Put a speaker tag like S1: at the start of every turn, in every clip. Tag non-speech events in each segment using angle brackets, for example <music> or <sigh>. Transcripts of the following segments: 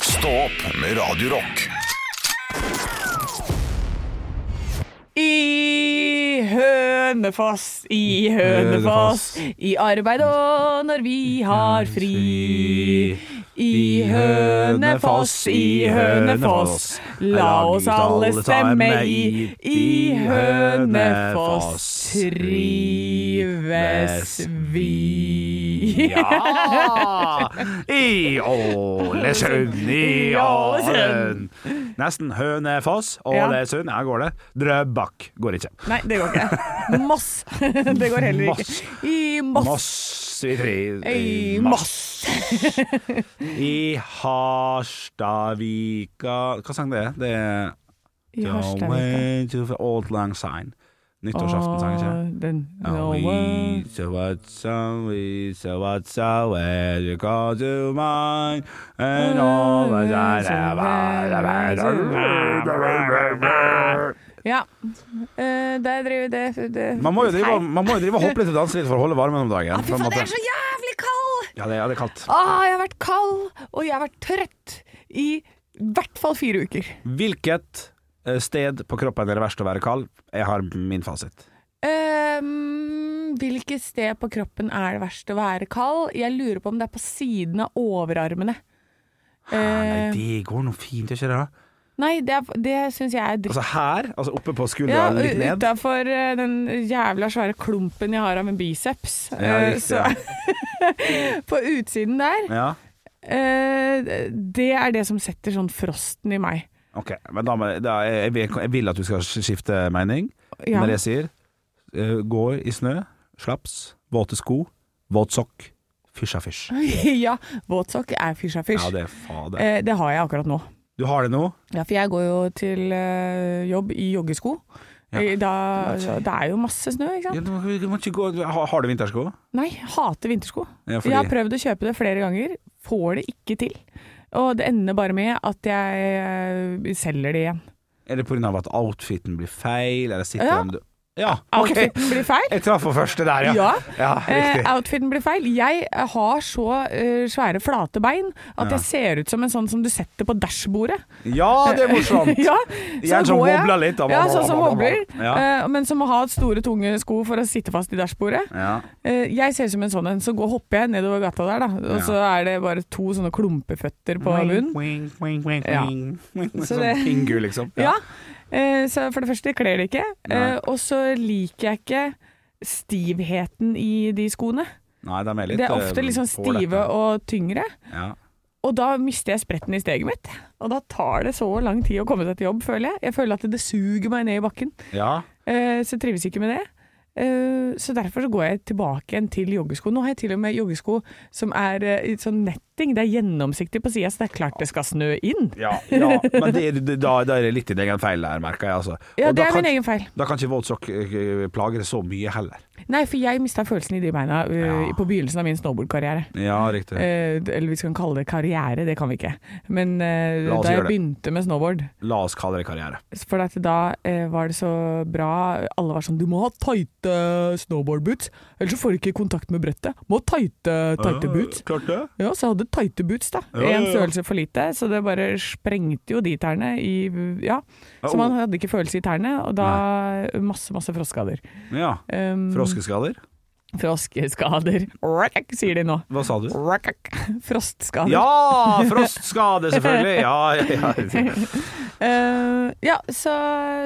S1: Stå opp med Radio Rock.
S2: I Hønefoss, i Hønefoss, i arbeid og når vi har fri. I Hønefoss, i Hønefoss, la oss alle stemme i. I Hønefoss trives vi.
S3: Ja! I Ålesund, i Ålesund. Nesten Hønefoss, Ålesund. Her går det. Drøbak går ikke.
S2: Nei, det går ikke. Moss. <laughs> Det går heller ikke. I Moss.
S3: Moss i tre
S2: I Moss.
S3: I Harstadvika Hva sang det er? Det er
S2: I
S3: The
S2: Harstadvika.
S3: way to the old lang sign. Nyttårsaften-sang, ikke
S2: Åh, Den, no
S3: And
S2: way.
S3: we so what's on, we so what's on, where you call to mind, and all the
S2: Ja. Eh, der driver det, det
S3: Man må jo drive, man må jo drive og hoppe litt og danse litt for å holde varmen om dagen.
S2: Fy
S3: på en
S2: faen, jeg
S3: måte.
S2: er så jævlig kald!
S3: Ja, det, ja, det er kaldt.
S2: Ah, jeg har vært kald, og jeg har vært trøtt i hvert fall fire uker.
S3: Hvilket eh, sted på kroppen er det verst å være kald? Jeg har min fasit.
S2: Um, hvilket sted på kroppen er det verst å være kald? Jeg lurer på om det er på siden av overarmene.
S3: Ah, Nei,
S2: Eh,
S3: det går nå fint, gjør ikke det? da?
S2: nei, det, er- det syns jeg er dritt.
S3: Altså her, altså oppe på skuldra
S2: Ja,
S3: litt ned.
S2: utafor eh, den jævla svære klumpen jeg har av en biceps.
S3: Ja,
S2: Eh,
S3: riktig,
S2: så <laughs> på utsiden der,
S3: ja.
S2: eh, det er det som setter sånn frosten i meg.
S3: Ok, men da, må- da jeg, jeg, jeg vil at du skal skifte mening.
S2: Ja. <laughs>
S3: Når jeg sier eh, går i snø, slaps, våte sko, våt sokk, fysj er fysj.
S2: ja, våtsokk er fysj er
S3: Ja,
S2: fysj.
S3: det er fader.
S2: Eh, det har jeg akkurat nå.
S3: Du har det nå?
S2: Ja, for jeg går jo til eh, jobb i joggesko.
S3: Ja.
S2: Eh, Da, det er jo masse snø, ikke sant?
S3: Ja, du må- du må ikke gå. du- Har, har du vintersko?
S2: Nei, jeg hater vintersko.
S3: Ja, fordi-
S2: Jeg har prøvd å kjøpe det flere ganger, får det ikke til. Og det ender bare med at jeg eh, selger det igjen.
S3: Er det pga. at outfiten blir feil, eller sitter
S2: Ja.
S3: den du Ja, OK!
S2: Outfiten blir feil.
S3: Jeg traff på første der, ja.
S2: Ja.
S3: riktig.
S2: Eh, outfiten blir feil. Jeg har så eh, svære flate bein at jeg ser ut som en sånn som du setter på dashbordet.
S3: Ja, det er
S2: <laughs>
S3: morsomt!
S2: ja,
S3: Gjerne som
S2: går jeg-
S3: wobler litt.
S2: Ja, sånn som wobler.
S3: Ja.
S2: eh, Men som må ha store, tunge sko for å sitte fast i dashbordet.
S3: Ja.
S2: Eh, Jeg ser ut som en sånn en, så går, hopper jeg nedover gata der, da. Og
S3: Ja.
S2: så er det bare to sånne klumpeføtter på bunnen.
S3: Wing, wing, wing,
S2: Ja.
S3: wing. <laughs>
S2: Så
S3: Sånn
S2: det-
S3: pingu, liksom.
S2: Ja. Eh, Så for det første kler det ikke,
S3: Nei.
S2: eh, og så liker jeg ikke stivheten i de skoene.
S3: Nei, de er litt
S2: Det er ofte
S3: eh,
S2: liksom
S3: hårdete.
S2: stive og tyngre.
S3: ja.
S2: Og da mister jeg spretten i steget mitt. Og da tar det så lang tid å komme seg til jobb, føler jeg. Jeg føler at det suger meg ned i bakken.
S3: ja.
S2: Eh, Så jeg trives ikke med det. Eh, Så derfor så går jeg tilbake igjen til joggesko. Nå har jeg til og med joggesko som er eh, i sånn netting. Det er gjennomsiktig på sida, så det er klart det skal snø inn.
S3: Ja, ja. men det, er- det, da, da er det litt din egen feil der, merker jeg. Altså.
S2: Ja,
S3: Og
S2: det
S3: da
S2: er
S3: kan,
S2: min egen feil.
S3: Da kan ikke våt sokk eh, plage det så mye heller.
S2: Nei, for jeg mista følelsen i de beina eh,
S3: Ja.
S2: på begynnelsen av min snowboardkarriere.
S3: Ja, riktig.
S2: Eh, Eller vi skal kalle det karriere, det kan vi ikke. Men eh,
S3: La oss
S2: da
S3: gjøre
S2: jeg
S3: det.
S2: begynte med snowboard
S3: La oss kalle det karriere.
S2: For at da eh, var det så bra Alle var sånn Du må ha tighte snowboardboots, ellers så får du ikke kontakt med brettet. Må ha tighte, tighte boots.
S3: Klart det.
S2: Ja, så jeg hadde tighte boots, da.
S3: Ja, ja,
S2: En
S3: ja.
S2: størrelse for lite, så det bare sprengte jo de tærne i Ja. Så man hadde ikke følelse i tærne, og da masse, masse frostskader.
S3: Ja.
S2: Um,
S3: Froskeskader?
S2: Froskeskader. Rakk, sier de nå.
S3: Hva sa du?
S2: Rakk. Frostskader.
S3: Ja, frostskade, selvfølgelig! Ja, ja, ja.
S2: Eh, ja så,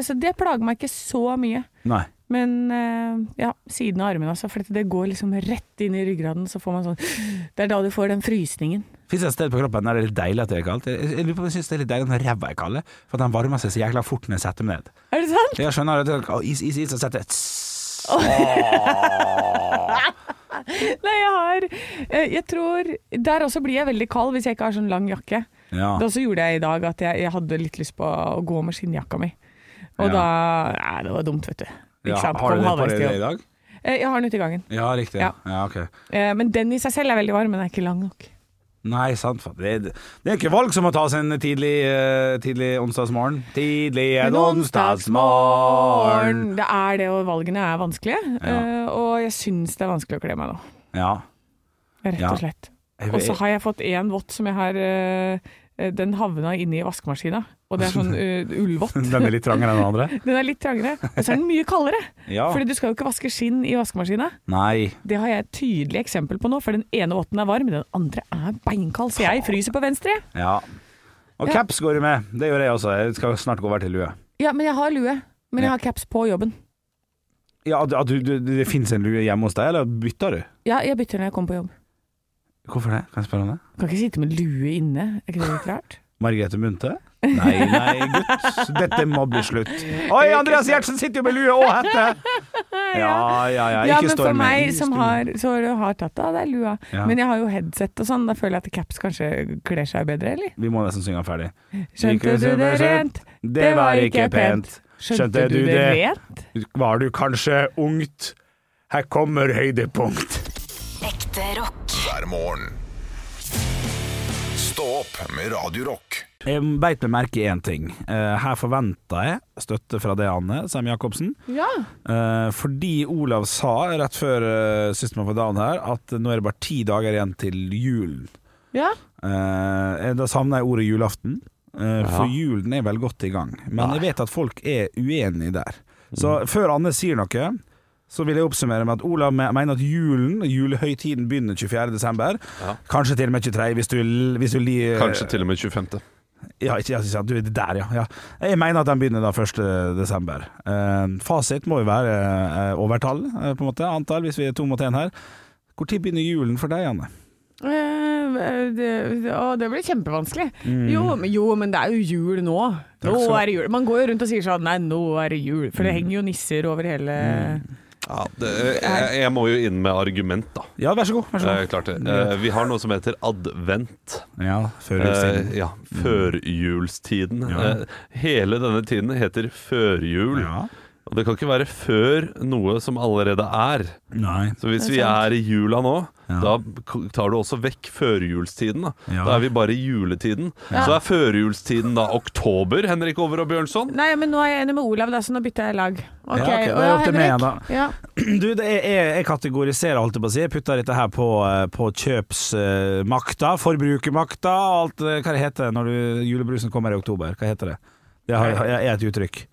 S2: så det plager meg ikke så mye.
S3: Nei.
S2: Men eh, ja, siden av armene altså, for dette- det går liksom rett inn i ryggraden, så får man sånn Det er da du får den frysningen.
S3: Fins det et sted på kroppen der det er litt deilig at det er kaldt? Jeg jeg lurer på om jeg synes det er litt deilig når ræva er kald, for at den varmer seg så jækla fort når jeg setter meg ned.
S2: Er det sant?
S3: Jeg skjønner at det er is, is, is, og setter jeg tss.
S2: Nei, jeg har eh, Jeg tror Der også blir jeg veldig kald hvis jeg ikke har sånn lang jakke.
S3: Ja.
S2: Det også gjorde jeg i dag, at jeg, jeg hadde litt lyst på å gå med skinnjakka mi. Og
S3: Ja.
S2: da Nei, det var dumt, vet du. Ikke
S3: Ja,
S2: sant?
S3: Har
S2: Kom
S3: du det på
S2: halvveis til
S3: deg
S2: jobb.
S3: i dag?
S2: Eh, Jeg har den ute i gangen.
S3: Ja, riktig.
S2: Ja.
S3: Ja, ja ok.
S2: Eh, Men den i seg selv er veldig varm, men den er ikke lang nok.
S3: Nei, sant. for Det, det er ikke valg som må tas en tidlig, eh, tidlig onsdagsmorgen. Tidlig en onsdagsmorgen.
S2: Det er det, og valgene er vanskelige. Eh, Og jeg syns det er vanskelig å kle meg nå,
S3: Ja.
S2: rett
S3: Ja.
S2: og slett.
S3: Jeg,
S2: Og så
S3: jeg,
S2: har jeg fått én vått som jeg har eh, eh, den havna inni vaskemaskina. Og det er
S3: <laughs>
S2: sånn uh, ullvått.
S3: <laughs> Den er litt trangere enn
S2: <laughs>
S3: den andre?
S2: Den er litt trangere, og så er den mye kaldere.
S3: Ja.
S2: Fordi du skal jo ikke vaske skinn i vaskemaskina.
S3: Nei.
S2: Det har jeg et tydelig eksempel på nå, for den ene votten er varm, den andre er beinkald, så jeg fryser på venstre.
S3: Ja. Og
S2: Ja.
S3: caps går du med. Det gjør jeg også. Jeg skal snart gå over til lue.
S2: Ja, men jeg har lue. Men jeg har caps på jobben.
S3: Ja, at- at du, du, Det fins en lue hjemme hos deg, eller bytter du?
S2: Ja, jeg bytter når jeg kommer på jobb.
S3: Hvorfor det? Kan jeg spørre om det?
S2: Kan ikke sitte med lue inne, er ikke det litt
S3: <laughs>
S2: rart?
S3: Margrethe Munthe? Nei, nei,
S2: <laughs>
S3: gutt. Dette må bli slutt. Oi, Andreas Gjertsen sitter jo med lue og
S2: <laughs>
S3: hette! Ja, ja, ja.
S2: ja,
S3: Ikke
S2: men
S3: storm.
S2: for meg
S3: ikke
S2: som
S3: storm.
S2: har, så har tatt av, det er lua.
S3: Ja.
S2: Men jeg har jo headset og sånn, da føler jeg at caps kanskje kler seg bedre, eller?
S3: Vi må nesten synge den ferdig.
S2: Skjønte du det rent?
S3: Det var ikke pent. Skjønte du det?
S2: rent?
S3: Var du kanskje ungt? Her kommer høydepunkt.
S4: Ekte rock.
S1: hver morgen. Stå opp med Radio Rock.
S3: Jeg beit meg merke i én ting. Eh, Her forventa jeg støtte fra det Anne Sem Jacobsen.
S2: Ja.
S3: Eh, Fordi Olav sa rett før eh, Systemann for dagen her at nå er det bare ti dager igjen til julen.
S2: ja.
S3: Eh, Da savner jeg ordet julaften, eh, for julen er vel godt i gang. Men jeg vet at folk er uenige der.
S5: Mm.
S3: Så før Anne sier noe så vil jeg oppsummere med at Olav me- mener at julen, julehøytiden, begynner 24.12. Kanskje til og med 23. hvis du, hvis du li-
S5: Kanskje til og med 25.
S3: Ja, ikke, ja, ja, du er der, ja, ja. Jeg mener at den begynner da 1. desember. Eh, fasit må jo være eh, overtall, eh, på en måte. Antall, hvis vi er to mot én her. Når begynner julen for deg, Anne?
S2: Eh, det, å, det blir kjempevanskelig. Jo, men- jo, men det er jo jul nå. Nå
S3: Mm. Takk skal Mm. du ha.
S2: er det jul. Man går jo rundt og sier sånn nei, nå er det jul. For det henger jo nisser over hele
S3: Mm.
S5: Ja, det, jeg, jeg må jo inn med argument, da.
S3: Ja, vær så god. Vær så
S5: Eh,
S3: god.
S5: klart det. Eh, vi har noe som heter advent.
S3: Ja, før
S5: Eh,
S3: julestiden.
S5: ja, førjulstiden.
S3: Ja.
S5: Eh, hele denne tiden heter førjul.
S3: Ja.
S5: Og det kan ikke være før noe som allerede er.
S3: Nei.
S5: Så hvis
S2: Det er
S5: vi
S2: sant.
S5: er i jula nå,
S3: Ja.
S5: da k- tar du også vekk førjulstiden. Da.
S3: Ja.
S5: da er vi bare i juletiden. Så er førjulstiden da oktober, Henrik Over og Bjørnson?
S2: Nei, men nå er jeg enig med Olav, da, så nå bytter jeg lag. Ok,
S3: Ja, ok, da
S2: og ja,
S3: er det opp til meg
S2: Henrik.
S3: igjen,
S2: Ja.
S3: <clears throat> Du, det er, jeg, jeg kategoriserer, holdt jeg på å si. Jeg putter dette her på, eh, på kjøpsmakta, forbrukermakta og alt eh, Hva det heter det når du, julebrusen kommer i oktober? Hva heter det? Det har, er et uttrykk.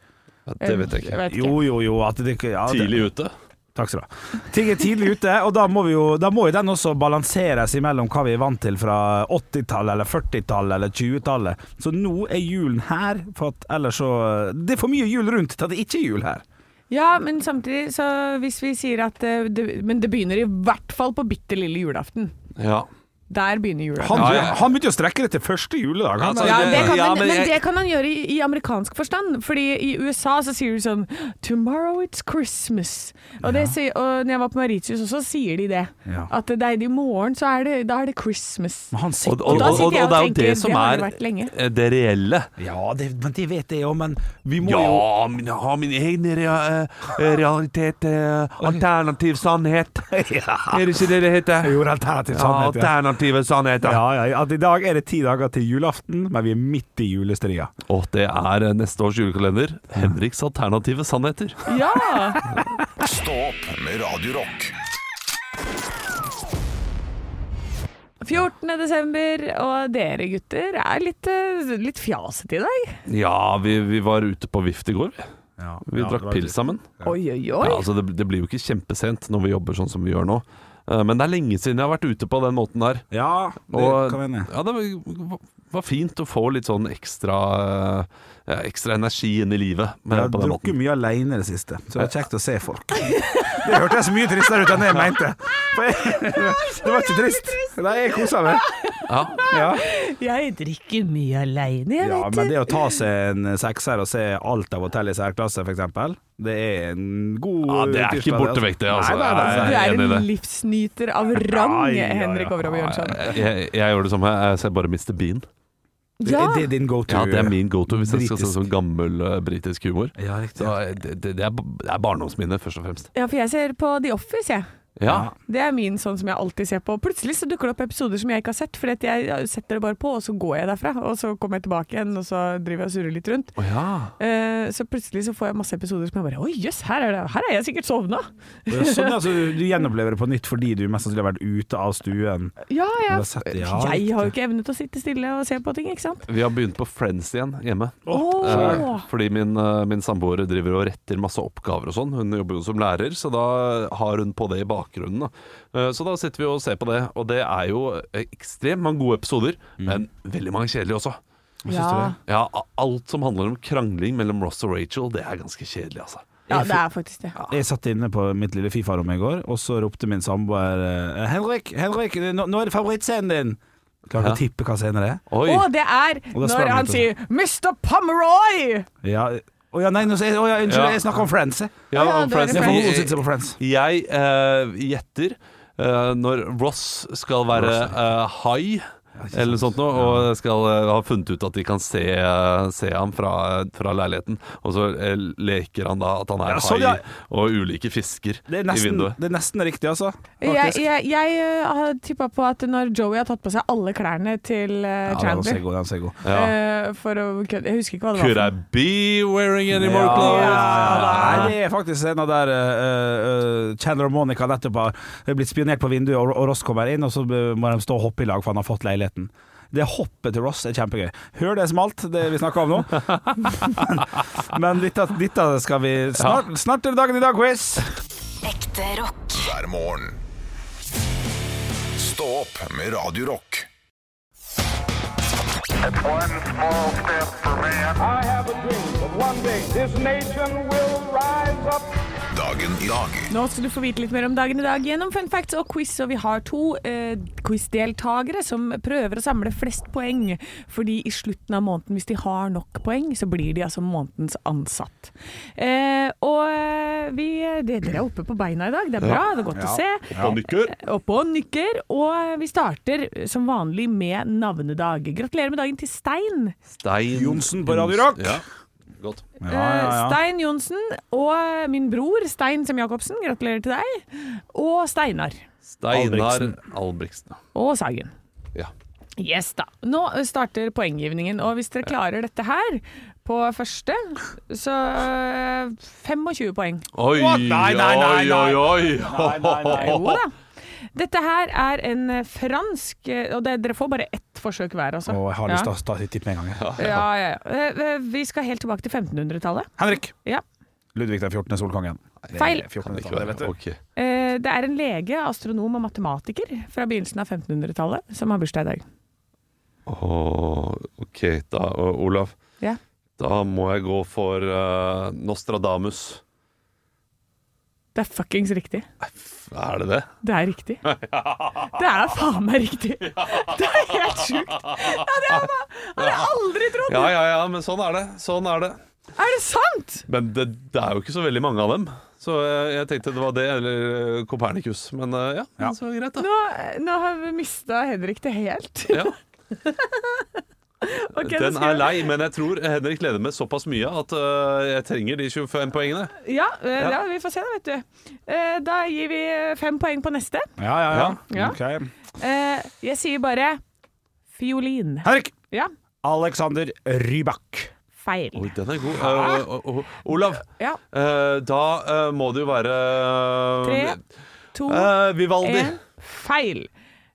S5: Ja, det vet jeg ikke.
S2: vet ikke.
S3: Jo, jo, jo. At det, ikke- ja, det,
S5: Tidlig ute.
S3: Takk skal du ha. Ting er tidlig ute, og da må, vi jo, da må jo den også balanseres imellom hva vi er vant til fra 80-tallet, eller 40-tallet, eller 20-tallet. Så nå er julen her, for at ellers så Det er for mye jul rundt til at det ikke er jul her.
S2: ja, men samtidig, så hvis vi sier at eh, det, Men det begynner i hvert fall på bitte lille julaften.
S5: Ja.
S2: Der begynner julaften.
S3: Han,
S5: Ja, ja.
S3: han begynte jo å strekke det til første juledag. Han,
S5: Altså,
S2: Ja, det kan
S5: Ja,
S2: han,
S5: men
S2: men,
S5: jeg-
S2: det kan han gjøre i, i amerikansk forstand. Fordi i USA så sier du sånn Tomorrow it's Christmas. Og, det, sier- og når jeg var på Mauritius også, sier de det.
S3: Ja.
S2: At det er i morgen, så er det, da er det Christmas.
S5: <laughs>
S3: Men han
S5: Og,
S3: sitter Altså,
S5: og,
S2: da
S5: og,
S2: sitter
S5: og,
S2: jeg og
S5: det er jo
S2: tenker,
S5: det som
S2: det har
S5: er
S2: det vært lenge.
S5: eh, det reelle.
S3: Ja, det, men det vet jeg òg, men vi må jo <laughs>
S5: Ja, men jeg har min egen rea- eh, realitet. eh, Alternativ sannhet. Er det ikke det det heter?
S3: Jo, alternativ
S5: Ja,
S3: sannhet. Ja.
S5: alternative sannheter.
S3: Ja, ja, at I dag er det ti dager til julaften, men vi er midt i julestria.
S5: Og det er eh, neste års julekalender. Henriks alternative sannheter.
S2: Ja!
S1: Stå opp med Radio Rock.
S2: 14. desember, og dere gutter er litt, eh, litt fjasete i dag.
S5: Ja, vi, vi var ute på vift i går. vi.
S3: Ja,
S5: Vi drakk pils sammen.
S2: Oi, oi, oi.
S5: Ja, altså det, det blir jo ikke kjempesent når vi jobber sånn som vi gjør nå. Eh, Men det er lenge siden jeg har vært ute på den måten der.
S3: Ja, det
S5: Og-
S3: kan hende.
S5: Ja, det var, var fint å få litt sånn ekstra, eh, ekstra energi inn i livet. med-
S3: Jeg har
S5: på den måten.
S3: drukket mye alene det siste, så det er kjekt å se
S5: <laughs>
S3: folk. Det hørtes mye tristere ut enn jeg mente. For jeg, <laughs> det var ikke trist. Nei, jeg kosa meg.
S5: Ja,
S3: Ja.
S2: Jeg drikker mye aleine, jeg,
S3: ja,
S2: vet
S3: men det å ta seg en sekser og se alt av hotell i særklasse, for eksempel, det er en god
S5: Ja, det er ikke
S3: tirsdag, det,
S5: bortevekt, det, altså.
S3: Nei, nei, nei,
S5: Jeg
S2: Du
S5: er
S2: er
S5: enig i
S2: en
S5: det.
S2: livsnyter av rang,
S3: Ja, ja, ja.
S2: Henrik Overhaug Bjørnson.
S5: jeg, jeg, jeg gjør det samme. Jeg ser bare Mr. Bean.
S2: Ja.
S3: Det, det er din go to.
S5: Ja, det er min go-to hvis jeg skal se
S3: Britisk.
S5: sånn gammel eh, britisk humor.
S3: Ja, riktig.
S5: Så eh, det, det, det er, det er barndomsminnet, først og fremst.
S2: ja, for jeg ser på The Office, jeg.
S5: Ja.
S2: Det er min sånn som jeg alltid ser på. Plutselig så dukker det opp episoder som jeg ikke har sett, fordi at jeg setter det bare på, og så går jeg derfra. Og så kommer jeg tilbake igjen, og så driver jeg og surrer litt rundt.
S5: Å ja.
S2: Eh, så plutselig så får jeg masse episoder som jeg bare Oi, jøss, her, er det- her er jeg sikkert sovna!
S3: Sånn, altså, du gjenopplever det på nytt fordi du mest sannsynlig har vært ute av stuen.
S2: Ja,
S3: Du
S2: jeg,
S3: har sett det, ja,
S2: jeg
S3: riktig.
S2: har jo ikke evne til å sitte stille og se på ting, ikke sant?
S5: Vi har begynt på Friends igjen hjemme.
S2: Åh.
S5: Eh, fordi min, eh, min samboer driver og retter masse oppgaver og sånn. Hun jobber jo som lærer, så da har hun på det i bakgrunnen. Da. Eh, så da sitter vi og ser på det, og det er jo eh, ekstremt mange gode episoder, men veldig mange kjedelige også.
S2: Ja.
S5: Ja, a- alt som handler om krangling mellom Ross og Rachel, det er ganske kjedelig, altså.
S2: ja, det er faktisk det.
S3: Jeg satt inne på mitt lille Fifa-rom i går, og så ropte min samboer eh, 'Henrik, Henrik, nå, nå er det favorittscenen din!' Klarte å
S5: Ja.
S3: tippe hva scenen det er.
S5: Oi!
S2: Og det er
S3: Og da
S2: når
S3: svarer
S2: han
S3: han
S2: sier 'Mr. Pomeroy'!
S3: Ja, å ja, nei, nå, sa jeg- å ja, unnskyld,
S5: Ja.
S3: jeg snakker om Friends. Jeg,
S5: Ja,
S2: Ja,
S5: om
S2: det er
S5: Friends.
S3: jeg får
S2: Friends.
S3: noen sitte på Friends.
S5: Jeg eh, gjetter eh, når Ross skal være eh, high eller sånn noe sånt noe, og skal eh, ha funnet ut at de kan se, eh, se ham fra, fra leiligheten. Og så eh, leker han da at han er
S3: Ja, sånn, ja.
S5: high og ulike fisker
S3: Det er
S5: i
S3: nesten,
S5: vinduet.
S3: det er nesten riktig, altså.
S2: Jeg,
S3: Faktisk.
S2: jeg, jeg eh, har tippa på at når Joey har tatt på seg alle klærne til uh,
S3: Ja, den ser
S2: Chandler
S3: god, den ser god.
S5: Ja.
S2: eh, For å kødde Jeg husker ikke hva det var.
S5: Could I
S2: for noe.
S5: be wearing any more
S3: Ja,
S5: clothes?
S3: ja, Nei, det er faktisk scenen der eh, eh, Chandler og Monica nettopp har blitt spionert på vinduet, og, og Ross kommer inn, og så eh, må de stå og hoppe i lag, for han har fått leiligheten. Det hoppet til Ross er kjempegøy. Hør det smalt, det vi snakker om nå. <laughs> Men, men dette, dette skal vi snart, snart er det dagen i dag-quiz.
S4: Ekte rock.
S1: hver morgen. Stå opp med Radio Rock.
S6: One small step for man.
S7: I have a dream that one day this nation will rise up.
S1: Dagen i dag
S2: Nå skal du få vite litt mer om dagen i dag gjennom fun facts og quiz. Og vi har to eh, quizdeltakere som prøver å samle flest poeng. Fordi i slutten av måneden, hvis de har nok poeng, så blir de altså månedens ansatt. Eh, og eh, vi, det, dere er oppe på beina i dag. Det er bra, det er godt å se.
S5: Og nykker.
S2: Oppe og nykker. Og vi starter eh, som vanlig med navnedag. Gratulerer med dagen til Stein.
S5: Stein
S3: Johnsen på Radio Rock.
S5: Ja. Godt.
S3: Ja, ja,
S2: Eh,
S3: ja.
S2: Stein Johnsen og min bror Stein Sem Jacobsen, gratulerer til deg. Og Steinar.
S5: Steinar
S3: Albrigtsen.
S5: Albrigtsen.
S2: Og Sagen.
S5: Ja.
S2: Yes da. Nå starter poenggivningen, og hvis dere klarer dette her på første, så øh, 25 poeng.
S5: Oi,
S3: What? Nei, nei, nei,
S5: oi,
S3: nei.
S5: oi, oi!
S2: Jo da. Dette her er en eh, fransk eh, Og det, dere får bare ett forsøk hver, altså.
S3: Å, jeg har lyst til å ta et tipp med en gang. jeg.
S2: ja. Ja, ja, ja. Eh, eh, Vi skal helt tilbake til 1500-tallet.
S3: Henrik.
S2: Ja.
S3: Ludvig den 14. solkongen. Det er
S2: Feil.
S3: 14.
S5: Ikke
S3: tallet, vet
S5: være-
S3: du.
S5: ok.
S2: Eh, Det er en lege, astronom og matematiker fra begynnelsen av 1500-tallet som har bursdag i dag.
S5: Åh, ok, da, Å, Olav.
S2: Ja.
S5: Da må jeg gå for eh, Nostradamus.
S2: Det er fuckings riktig.
S5: Er det det?
S2: Det er
S5: <laughs>
S2: riktig. Det er faen meg riktig. Det er helt sjukt. Ja, det hadde jeg- hadde jeg aldri trodd.
S5: Ja, ja, ja, men sånn er det. Sånn er det.
S2: Er det sant?
S5: Men det, det er jo ikke så veldig mange av dem. Så eh, jeg, jeg tenkte det var det, eller eh, Kopernikus. Men eh, ja, men så greit, da.
S2: Nå, nå har vi mista Henrik det helt.
S5: Ja,
S2: <laughs> Ok, da
S5: den
S2: skal
S5: er
S2: jeg-
S5: lei, men jeg tror Henrik leder med såpass mye at eh, jeg trenger de 25 poengene.
S2: Ja, eh, ja, vi får se da, vet du. Eh, Da gir vi eh, fem poeng på neste.
S3: Ja, ja, ja.
S2: Ja.
S3: Ok.
S2: Eh, Jeg sier bare fiolin.
S3: Henrik.
S2: Ja,
S3: Alexander Rybak.
S5: Oi,
S2: feil.
S5: den er god. Eh, o- o- o- Olav,
S2: Ja,
S5: eh, da eh, må det jo være
S2: Tre, to,
S5: Eh, Vivaldi.
S2: en, feil.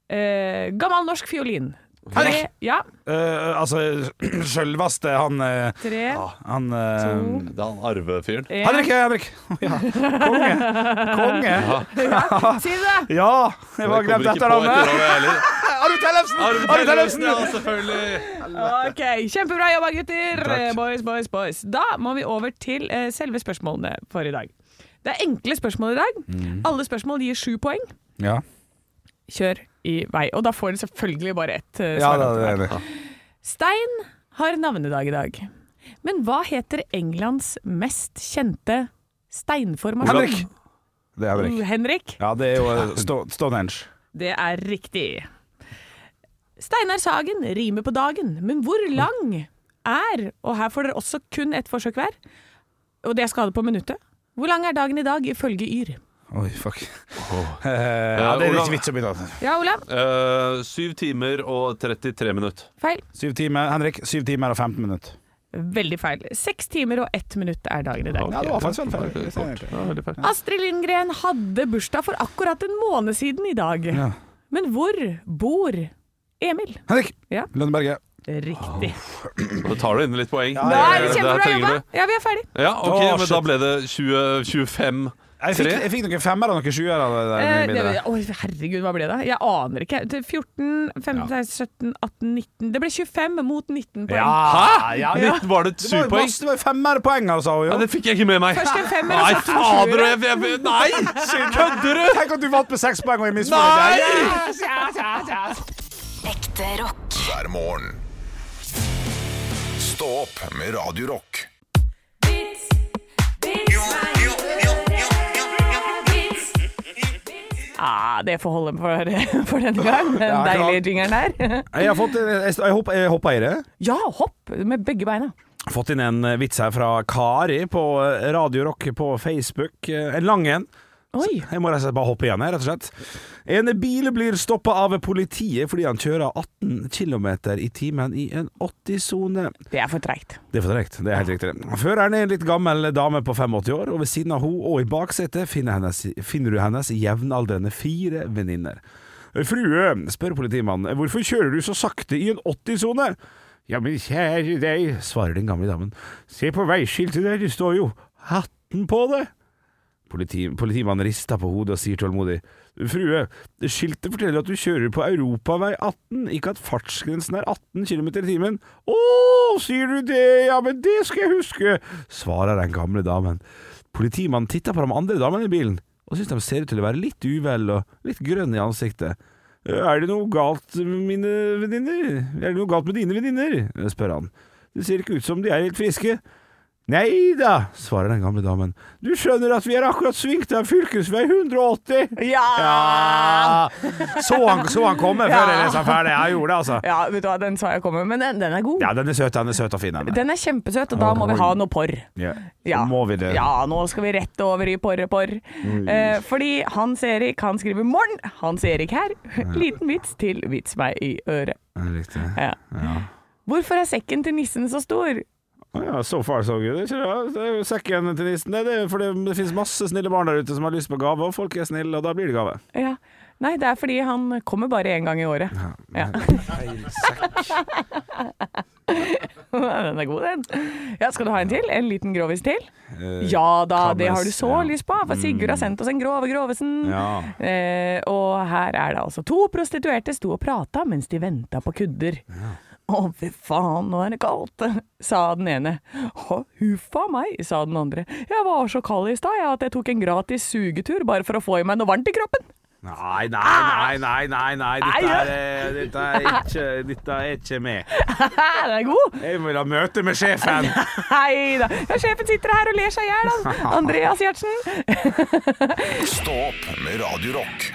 S2: Eh, Gammel norsk fiolin. Tre, ja,
S3: Eh, altså, <clears throat> sjølveste han eh,
S2: tre,
S3: Han eh,
S5: Det er han arvefyren.
S2: en.
S3: Henrik! Henrik! <laughs> Ja. Konge! <laughs> Konge!
S2: Si det!
S3: Ja! Jeg var glemt etternavnet. Arvid Tellefsen! Arvid Tellefsen!
S5: Ja, selvfølgelig!
S2: Ok, Kjempebra jobba, gutter! Eh, Boys, boys, boys. Da må vi over til eh, selve spørsmålene for i dag. Det er enkle spørsmål i dag.
S3: Mm.
S2: Alle spørsmål gir sju poeng.
S3: Ja,
S2: Kjør i vei. Og da får dere selvfølgelig bare ett eh,
S3: ja
S2: svar.
S3: det er det.
S2: Stein har navnedag i dag. Men hva heter Englands mest kjente steinformasjon?
S3: Henrik! Det er
S2: Uh,
S3: Henrik.
S2: Henrik.
S3: Ja, det er jo eh, Sto- Stonehenge.
S2: Det er riktig. Steinar Sagen rimer på dagen, men hvor lang er Og her får dere også kun ett forsøk hver. Og det skal ha det på minuttet. Hvor lang er dagen i dag ifølge Yr?
S3: Oi, fuck. <laughs> Eh, ja,
S5: Eh,
S3: det er
S5: Olav-
S3: ikke vits å begynne.
S2: Ja, Olav.
S5: Eh, Syv timer og 33 minutter.
S2: Feil.
S3: Syv timer, Henrik. Syv timer og 15 minutter.
S2: Veldig feil. Seks timer og ett minutt er dagen i dag.
S3: Ja, det var faktisk veldig
S5: Det var
S3: feil.
S5: kort. Ja, veldig feil.
S2: Astrid Lindgren hadde bursdag for akkurat en måned siden i dag.
S3: Ja.
S2: Men hvor bor Emil?
S3: Henrik
S2: Ja.
S3: Lønneberget.
S2: Riktig.
S5: Da tar du inn litt poeng.
S2: Da er det
S5: Det- det her
S2: kjempebra
S5: trenger
S2: jobba!
S5: du.
S2: Ja, vi er ferdig.
S5: Ja, ok,
S3: Å,
S5: men
S3: shit.
S5: da ble det 20, 25
S3: Jeg fikk, jeg fikk noen femmer og noen sjuere. av det der
S2: Eh,
S3: mye
S2: det,
S3: billigere.
S2: å, herregud, hva ble det? Jeg aner ikke. Det er 14, 15, 17, 18, 19 Det ble 25 mot 19 poeng.
S3: Ja, ja, ja.
S5: Litt, var det et
S3: Det var jo
S5: syvpoeng?
S3: masse- det var jo femmerpoeng, altså. Jo.
S5: Ja, det fikk jeg ikke med meg.
S2: Først en femmer,
S5: Nei,
S2: og så to
S5: fader!
S2: sjuere.
S5: Jeg, jeg, jeg, nei! Kødder du?!
S3: Tenk at du vant med seks poeng og jeg misfornøyd.
S5: Nei!
S4: Ekte rock.
S1: hver morgen. Stå opp med Radio Rock.
S2: Ja, Ah, det får holde for, for <laughs> denne gang. Den
S3: <laughs> Ja, klart.
S2: deilige jingeren der. <laughs>
S3: Jeg har fått, eh, jeg, jeg, hoppa- jeg hoppa i det.
S2: Ja, hopp med begge beina.
S3: Fått inn en eh, vits her fra Kari på eh, Radio Rock på Facebook. Eh, En lang en.
S2: Oi.
S3: Jeg må rett og slett bare hoppe igjen her, rett og slett. En bil blir stoppa av politiet fordi han kjører 18 km i timen i en 80-sone.
S2: Det er for treigt.
S3: Det er for direkte, det er helt riktig. Føreren er en litt gammel dame på 85 år, og ved siden av henne og i baksetet finner, hennes- finner du hennes jevnaldrende fire venninner. Frue, spør politimannen, hvorfor kjører du så sakte i en 80-sone? Ja, men kjære deg, svarer den gamle damen, se på veiskiltet der, det står jo 18 på det. Politi, politimannen rister på hodet og sier tålmodig, frue, skiltet forteller at du kjører på Europavei 18, ikke at fartsgrensen er 18 km i timen. Åh, sier du det, ja, men det skal jeg huske, svarer den gamle damen. Politimannen titter på de andre damene i bilen, og synes de ser ut til å være litt uvel og litt grønne i ansiktet. «Eh, Er det noe galt med mine venninner? Er det noe galt med dine venninner? spør han. Det ser ikke ut som de er helt friske. Nei da, svarer den gamle damen. Du skjønner at vi er akkurat svingt av fylkesvei 180.
S2: Ja!
S3: Ja! Så han, så han komme før jeg leste den ferdig. Ja, Jeg gjorde det, altså.
S2: Ja, vet du hva, den sa jeg komme, men den, den er god.
S3: Ja, den er søt, den er søt og fin. Den.
S2: Den er kjempesøt, og da må vi ha noe porr.
S3: Ja.
S2: Ja.
S3: Så må vi det.
S2: ja, nå skal vi rett over i porre-porr. Eh, fordi Hans-Erik han skriver 'morn'. Hans-Erik her. Liten vits til vits meg i øret.
S3: Ja, Riktig.
S2: Ja.
S3: Ja.
S2: Hvorfor er sekken til nissen så stor?
S3: Å Ja, so far so good. Ikke det? Det er jo sekken til nissen. Det, det er jo fordi det finnes masse snille barn der ute som har lyst på gave, og folk er snille, og da blir det gave.
S2: Ja. Nei, det er fordi han kommer bare én gang i året. Ja. <laughs> den er god, den. Ja, skal du ha en til? En liten grovis til?
S3: Eh,
S2: Ja Mm. da, det har du så lyst på, for Sigurd har sendt oss en grove grovesen.
S3: Ja.
S2: Eh, og her er det altså to prostituerte sto og prata mens de venta på kudder. Å, fy faen, nå er det kaldt, <laughs> sa den ene. Å, huffa meg, sa den andre. Jeg var så kald i stad jeg, at jeg tok en gratis sugetur bare for å få i meg noe varmt i kroppen. <laughs>
S3: Nei, nei, nei, nei, nei, nei. Dette
S2: Ah! Nei,
S3: er, eh, dette er, ikke, dette er ikke med.
S2: Hæ, den er god!
S3: Jeg vil ha møte med sjefen.
S2: Hei da. Ja, sjefen sitter her og ler seg i hjel,
S3: <laughs>
S2: han. Andreas Gjertsen.
S1: Stå opp med Radio Rock.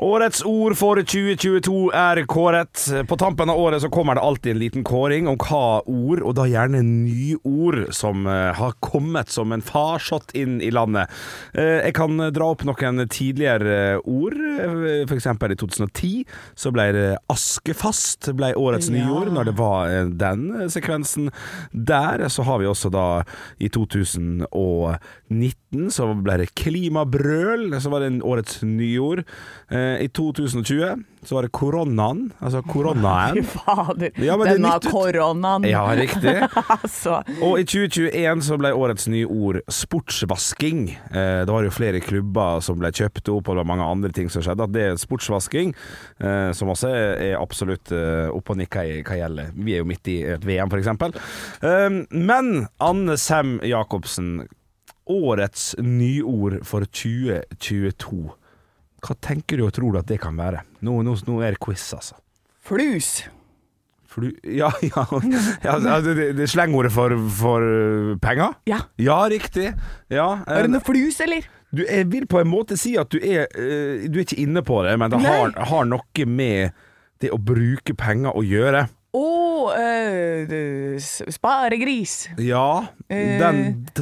S3: Årets ord for 2022 er kåret. På tampen av året så kommer det alltid en liten kåring om hva ord, og da gjerne nyord, som eh, har kommet som en farsott inn i landet. Eh, jeg kan dra opp noen tidligere eh, ord. Eh, For eksempel i 2010 så ble det askefast ble årets nyord, når det var eh, den eh, sekvensen. Der så har vi også da i 2019 2019 så ble det klimabrøl, så var det en årets nyord. Eh, I 2020 så var det koronaen, altså
S2: Fy <laughs>
S3: koronaen.
S2: <laughs> fader.
S3: Ja, men det er
S2: Denne
S3: nytt ut.
S2: koronaen.
S3: Ja, riktig.
S2: <laughs> altså.
S3: Og i 2021 så ble årets nye ord sportsvasking. Eh, det var jo flere klubber som ble kjøpt opp, og det var mange andre ting som skjedde. At det er sportsvasking, eh, som også er er absolutt eh, opp og nikka i hva gjelder Vi er jo midt i et VM, f.eks. Eh, men Anne Sem Jacobsen, årets nyord for 2022. Hva tenker du og tror du at det kan være? Nå, nå, nå er det quiz, altså.
S2: Flus.
S3: For du, ja, ja, <laughs> ja altså, det, det er slengordet for, for uh, penger?
S2: Ja.
S3: Ja, riktig. Ja,
S2: Er det
S3: eh,
S2: noe flus, eller?
S3: du, jeg vil på en måte si at du er eh, Du er ikke inne på det, men det har, har noe med det å bruke penger å gjøre.
S2: Å, eh, d- s- sparegris.
S3: Ja,
S2: Eh.
S3: den,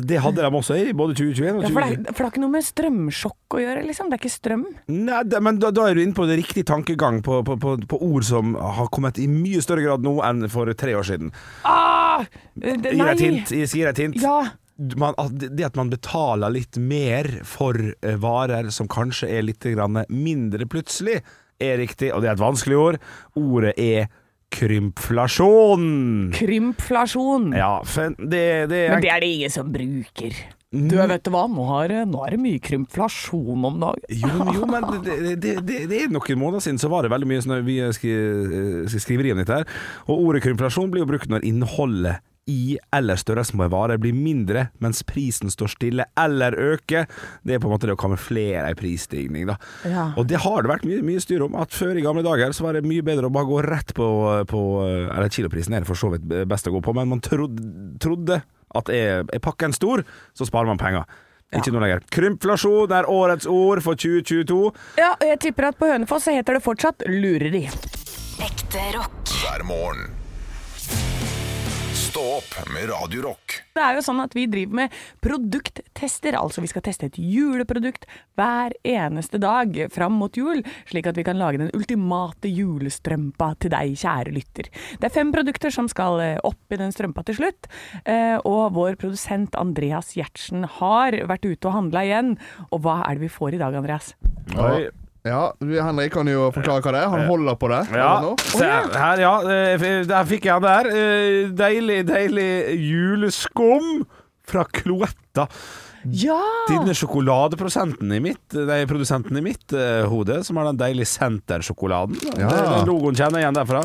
S3: det hadde de også i både 2021 og
S2: Ja, for, det,
S3: 2022.
S2: er- for det har ikke noe med strømsjokk å gjøre, liksom. Det er ikke strøm.
S3: Nei, da- men da, da er du inne på det riktige tankegang på, på, på, på ord som har kommet i mye større grad nå enn for tre år siden.
S2: Ah! Eh, det-
S3: Gir
S2: Nei!
S3: jeg et hint? Jeg sier et hint.
S2: Ja.
S3: Man, at det det at man betaler litt mer for eh, varer som kanskje er litt grann mindre plutselig, er riktig, og det er et vanskelig ord. Ordet er krympflasjon.
S2: Krympflasjon.
S3: Ja, for det, det er
S2: Men det er det ingen som bruker.
S3: Mm.
S2: Du, vet du hva, nå, har, nå er det mye krympflasjon om dagen.
S3: Jo, men- jo, men det, det, det, det er noen måneder siden så var det veldig mye sånn vi skri, eh, skriveri om dette her. Og ordet krympflasjon blir jo brukt når innholdet i eller størrelsen på en vare blir mindre, mens prisen står stille eller øker. Det er på en måte det å kamuflere ei prisstigning, da.
S2: Ja.
S3: Og det har det vært mye, mye styr om. At før i gamle dager så var det mye bedre å bare gå rett på, på Eller kiloprisen er det for så vidt best å gå på, men man trodde, trodde at er, er pakken stor, så sparer man penger. Ikke noe lenger. Krympflasjon er årets ord for 2022.
S2: Ja, og jeg tipper at på Hønefoss så heter det fortsatt lureri.
S4: Ekte rock.
S1: hver morgen. Stå opp med Radio Rock.
S2: Det er jo sånn at vi driver med produkttester, altså vi skal teste et juleprodukt hver eneste dag fram mot jul, slik at vi kan lage den ultimate julestrømpa til deg, kjære lytter. Det er fem produkter som skal eh, opp i den strømpa til slutt, eh, og vår produsent Andreas Gjertsen har vært ute og handla igjen. Og hva er det vi får i dag, Andreas?
S3: Oi.
S8: Ja, vi- Henrik kan jo forklare hva det er. Han holder på det. Eller
S3: Ja,
S8: noe.
S3: se her, ja. eh, Der fikk jeg den der. Eh, Deilig, deilig juleskum fra Cloetta.
S2: Ja!
S3: Denne sjokoladeprodusenten i mitt Nei, produsenten i mitt eh, hode Som har den deilige sentersjokoladen
S8: Ja.
S3: Den den logoen kjenner jeg igjen derfra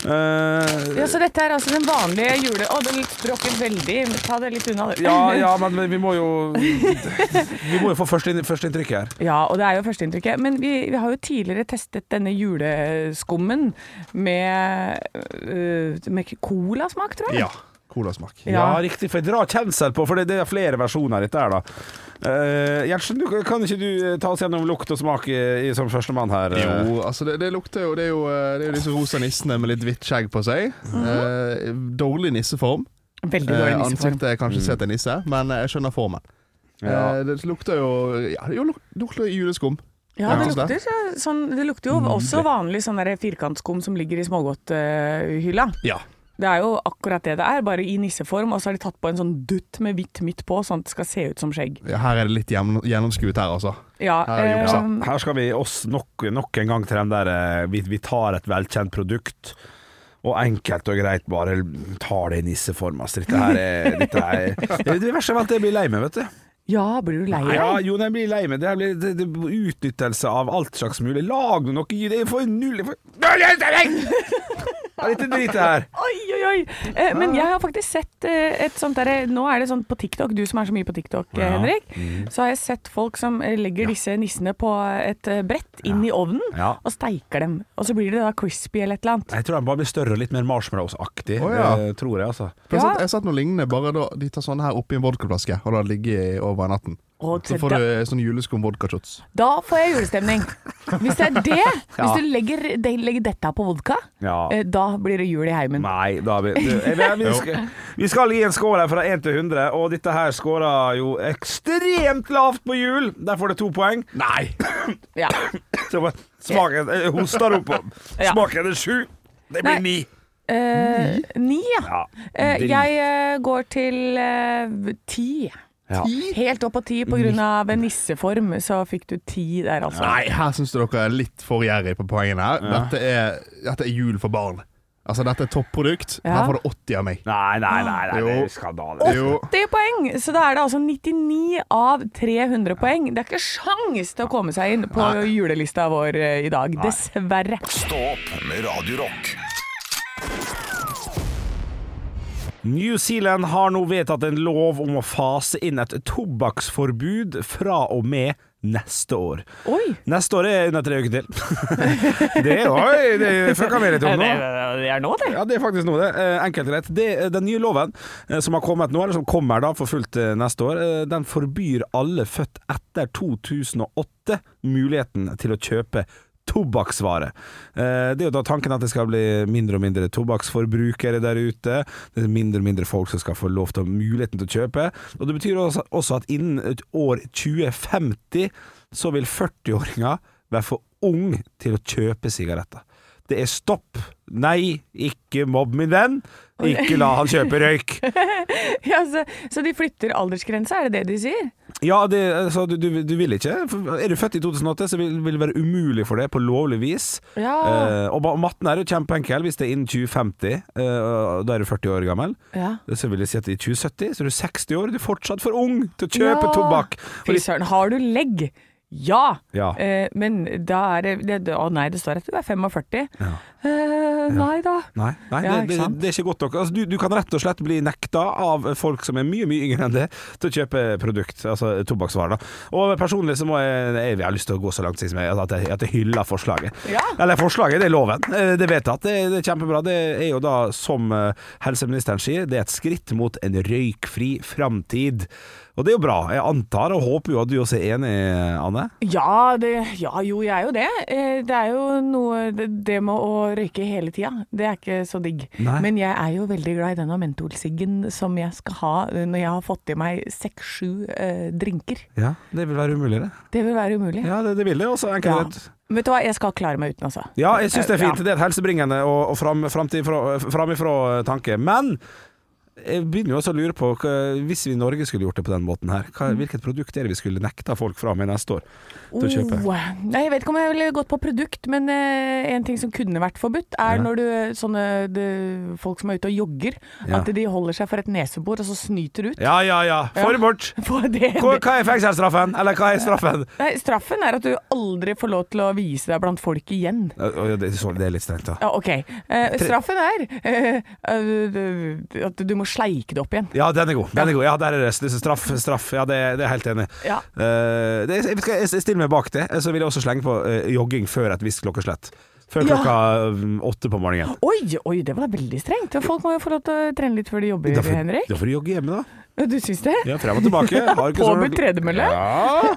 S3: Eh,
S2: Ja, så dette er altså den vanlige jule... Å, den bråker veldig. Ta det litt unna, du.
S3: ja, ja, men vi må jo Vi må jo få første, inn- første inntrykk her
S2: Ja, og det er jo førsteinntrykket. Men vi, vi har jo tidligere testet denne juleskummen med, øh, med colasmak, tror jeg.
S8: Ja. Colasmak.
S3: ja. riktig, for jeg drar kjensel på For det, det er flere versjoner av dette her da Eh, Gjertsen, du, kan ikke du eh, ta oss gjennom lukt og smak i, i, Som første mann her eh?
S8: Jo, altså det, det lukter jo Det er jo, eh, det er jo disse rosa nissene med litt hvitt skjegg på seg.
S2: Mhm.
S8: Eh, dårlig nisseform.
S2: Veldig
S8: Eh,
S2: dårlig nisseform.
S8: ansiktet er kanskje sett en nisse, men eh, jeg skjønner formen.
S3: Mm. Ja.
S8: Eh, det lukter jo Ja, det luk- lukter juleskum.
S2: Ja, det
S8: Ja. Mm.
S2: lukter, så- sånn, det lukter jo også vanlig sånn der firkantskum som ligger i smågodthylla.
S8: Ja.
S2: det er jo akkurat det det er, bare i nisseform. Og så har de tatt på en sånn dutt med hvitt midt på, sånn at det skal se ut som skjegg.
S8: Her er det litt gjennom, gjennomskuet her, altså.
S2: Ja,
S8: Her er det
S2: eh,
S8: juksa.
S3: Her skal vi oss nok, nok en gang til den der eh, vi, vi tar et velkjent produkt og enkelt og greit bare tar det i nisseform. Altså, dette her er, dette
S8: <laughs>
S3: er Det det verste er at jeg blir lei meg, vet du.
S2: ja blir du lei deg?
S3: Ja, jo, jeg blir lei meg. Det, her blir, det, det er utnyttelse av alt slags mulig. Lag nå noe i det. Jeg får null jeg får... Null innstilling! Ja, Dette dritet her.
S2: Oi, oi, oi. Eh, men jeg har faktisk sett eh, et sånt derre Nå er det sånn på TikTok, du som er så mye på TikTok, eh, Henrik. Så har jeg sett folk som eh, legger disse nissene på et eh, brett inn i ovnen
S3: Ja.
S2: og steiker dem. Og så blir det da crispy eller et eller annet.
S3: Jeg tror den bare blir større og litt mer marshmallows-aktig.
S8: Å, ja.
S3: Det Tror jeg, altså.
S8: For Jeg
S2: Ja.
S8: har sett- jeg har sett noe lignende, bare da de tar sånne her oppi en vodkaflaske og lar det ligge i over natten.
S2: Og
S8: Så
S2: til-
S8: får
S2: da,
S8: du sånn juleskum-vodkashots.
S2: da får jeg julestemning. Hvis det er det, hvis du legger, de, legger dette på vodka,
S3: Ja.
S2: eh, da blir det jul i heimen.
S3: Nei, da vi, du, jeg, <laughs> jeg, vi, skal, vi skal gi en score her fra 1 til 100, og dette her scora jo ekstremt lavt på jul. Der får det to poeng. <laughs> Nei!
S2: Ja.
S3: Smaken jeg eh, hoster opp. og-
S2: <laughs> Ja.
S3: Smaken er sju. Det
S2: Nei.
S3: blir ni.
S2: Eh, ni, ja.
S3: Ja,
S2: Eh,
S3: drit.
S2: jeg eh, går til eh, ti.
S3: Ja.
S2: Helt opp på ti på grunn av nisseform, så fikk du ti der, altså.
S8: Nei, her syns du dere er litt for gjerrig på poengene her. Dette, er, dette er jul for barn. Altså, dette er topprodukt.
S2: Ja.
S8: Her får du 80 av meg.
S3: Nei, nei, nei, nei det
S8: Jo.
S3: er skandale.
S8: Jo.
S2: 80 poeng! Så da er det altså 99 av 300 poeng. Det er ikke sjans til å komme seg inn på julelista vår eh, i dag, dessverre.
S1: Stå opp med Radio Rock.
S3: New Zealand har nå vedtatt en lov om å fase inn et tobakksforbud fra og med neste år.
S2: Oi!
S3: Neste år er under tre uker til. <laughs> det, oi, det fucka vi litt om nå.
S2: er nå,
S3: <laughs>
S2: det.
S3: Ja, det er faktisk noe, det. Eh, Enkelt og rett. Det, den nye loven eh, som har kommet nå, eller som kommer da for fullt eh, neste år, eh, den forbyr alle født etter 2008 muligheten til å kjøpe tobakksvare. Eh, Det er jo da tanken at det skal bli mindre og mindre tobakksforbrukere der ute. Det er mindre og mindre folk som skal få lov til å muligheten til å kjøpe. Og det betyr også, også at innen et år 2050 så vil 40-åringer være for ung til å kjøpe sigaretter. Det er stopp. Nei, ikke mobb min venn. Ikke la han kjøpe
S2: <laughs>
S3: røyk.
S2: Ja, så, så de flytter aldersgrensa, er det det de sier?
S3: Ja, det, altså, du, du, du vil ikke. For Er du født i 2008, så vil, vil det være umulig for deg på lovlig vis.
S2: Ja.
S3: Eh, og ba- matten er jo kjempeenkel. Hvis det er innen 2050, eh, og da er du 40 år gammel.
S2: Ja.
S3: Så vil jeg si at i 2070 så er du 60 år. Du er fortsatt for ung til å
S2: Ja.
S3: kjøpe tobakk. Og
S2: Fy
S3: de-
S2: søren, har du legg? Ja!
S3: Ja.
S2: Eh, men da er det, det det- Å nei, det står at du er 45. Eh, nei da.
S3: Nei, nei
S2: Ja,
S3: det,
S2: ikke
S3: det,
S2: sant?
S3: det er ikke godt nok. Altså, du, du kan rett og slett bli nekta av folk som er mye mye yngre enn det, til å kjøpe produkt, altså tobakksvarer. da. Og personlig så må jeg Jeg har lyst til å gå så langt som jeg, at, jeg, at jeg hyller forslaget.
S2: Ja.
S3: Eller forslaget, det er loven. Eh, Det er vedtatt. Det, det er kjempebra. Det er jo da, som eh, helseministeren sier, det er et skritt mot en røykfri framtid. Og det er jo bra. Jeg antar og håper jo at du også er enig, Anne.
S2: Ja, det, ja, jo, jeg er jo det. Eh, Det er jo noe Det, det med å røyke hele tida, det er ikke så digg.
S3: Nei.
S2: Men jeg er jo veldig glad i denne mentolsiggen som jeg skal ha eh, når jeg har fått i meg seks-sju eh, drinker.
S3: Ja, Det vil være umulig, det.
S2: Det vil være umulig.
S3: Ja, det, det vil det. Også, enkelt og
S2: Ja.
S3: greit.
S2: Vet du hva, jeg skal klare meg uten, altså.
S3: Ja, jeg syns det er
S2: Ja.
S3: fint. Det er et helsebringende og, og fram, framtid fra- framifrå eh, tanke. Men jeg begynner jo også å lure på, hva- hvis vi i Norge skulle gjort det på den måten her,
S2: Mm.
S3: hva, hvilket produkt er det vi skulle nekta folk fra med neste år til å kjøpe?
S2: Oh, nei, jeg vet ikke om jeg ville gått på produkt, men eh, en ting som kunne vært forbudt, er
S3: Ja.
S2: når du, eh, sånne det- folk som er ute og jogger,
S3: Ja.
S2: at de holder seg for et nesebor og så snyter ut. <laughs>
S3: Ja, ja, ja. Få det bort!
S2: For det,
S3: Hva, hva er fengselsstraffen? Eller hva er straffen?
S2: Nei, straffen er at du aldri får lov til å vise deg blant folk igjen.
S3: Ja, ja, Det, så- det er litt strengt, da.
S2: Ja, ok. Eh, straffen er eh, eh, at du må sleike det opp igjen.
S3: Ja, den er god. Den er god. Ja, der er det. Straff, straff. Ja, det, det er jeg helt enig i.
S2: Ja.
S3: Eh, det, jeg, skal, jeg stiller meg bak det. Så vil jeg også slenge på eh, jogging før et visst klokkeslett. Før
S2: Ja.
S3: klokka eh, åtte på morgenen.
S2: Oi, oi, det var veldig strengt. Folk må jo få lov til å trene litt før de jobber,
S3: Da får-
S2: Henrik.
S3: Da får du jogge hjemme, da.
S2: Du syns det?
S3: Ja, frem og
S2: <laughs>
S3: tilbake. Har ikke så-
S2: Påbudt tredemølle?
S3: Ja.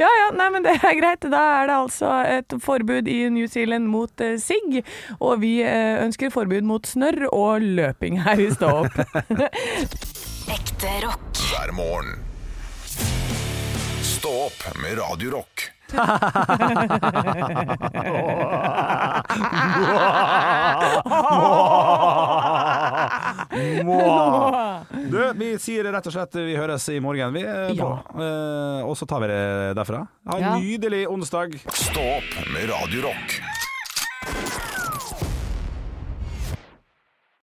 S2: Ja ja, nei men det er greit. Da er det altså et forbud i New Zealand mot eh, sigg. Og vi eh, ønsker forbud må snørr og løping her i Stå opp.
S3: <laughs>
S2: <laughs>
S4: Ekte rock.
S1: hver morgen. Stå opp med Radio Rock.
S3: Mwah. Du, vi sier rett og slett vi høres i morgen, vi. eh,
S2: Ja.
S3: på. Eh, og så tar vi det derfra. Ha en
S2: Ja.
S3: nydelig onsdag.
S1: Stå opp med Radio Rock.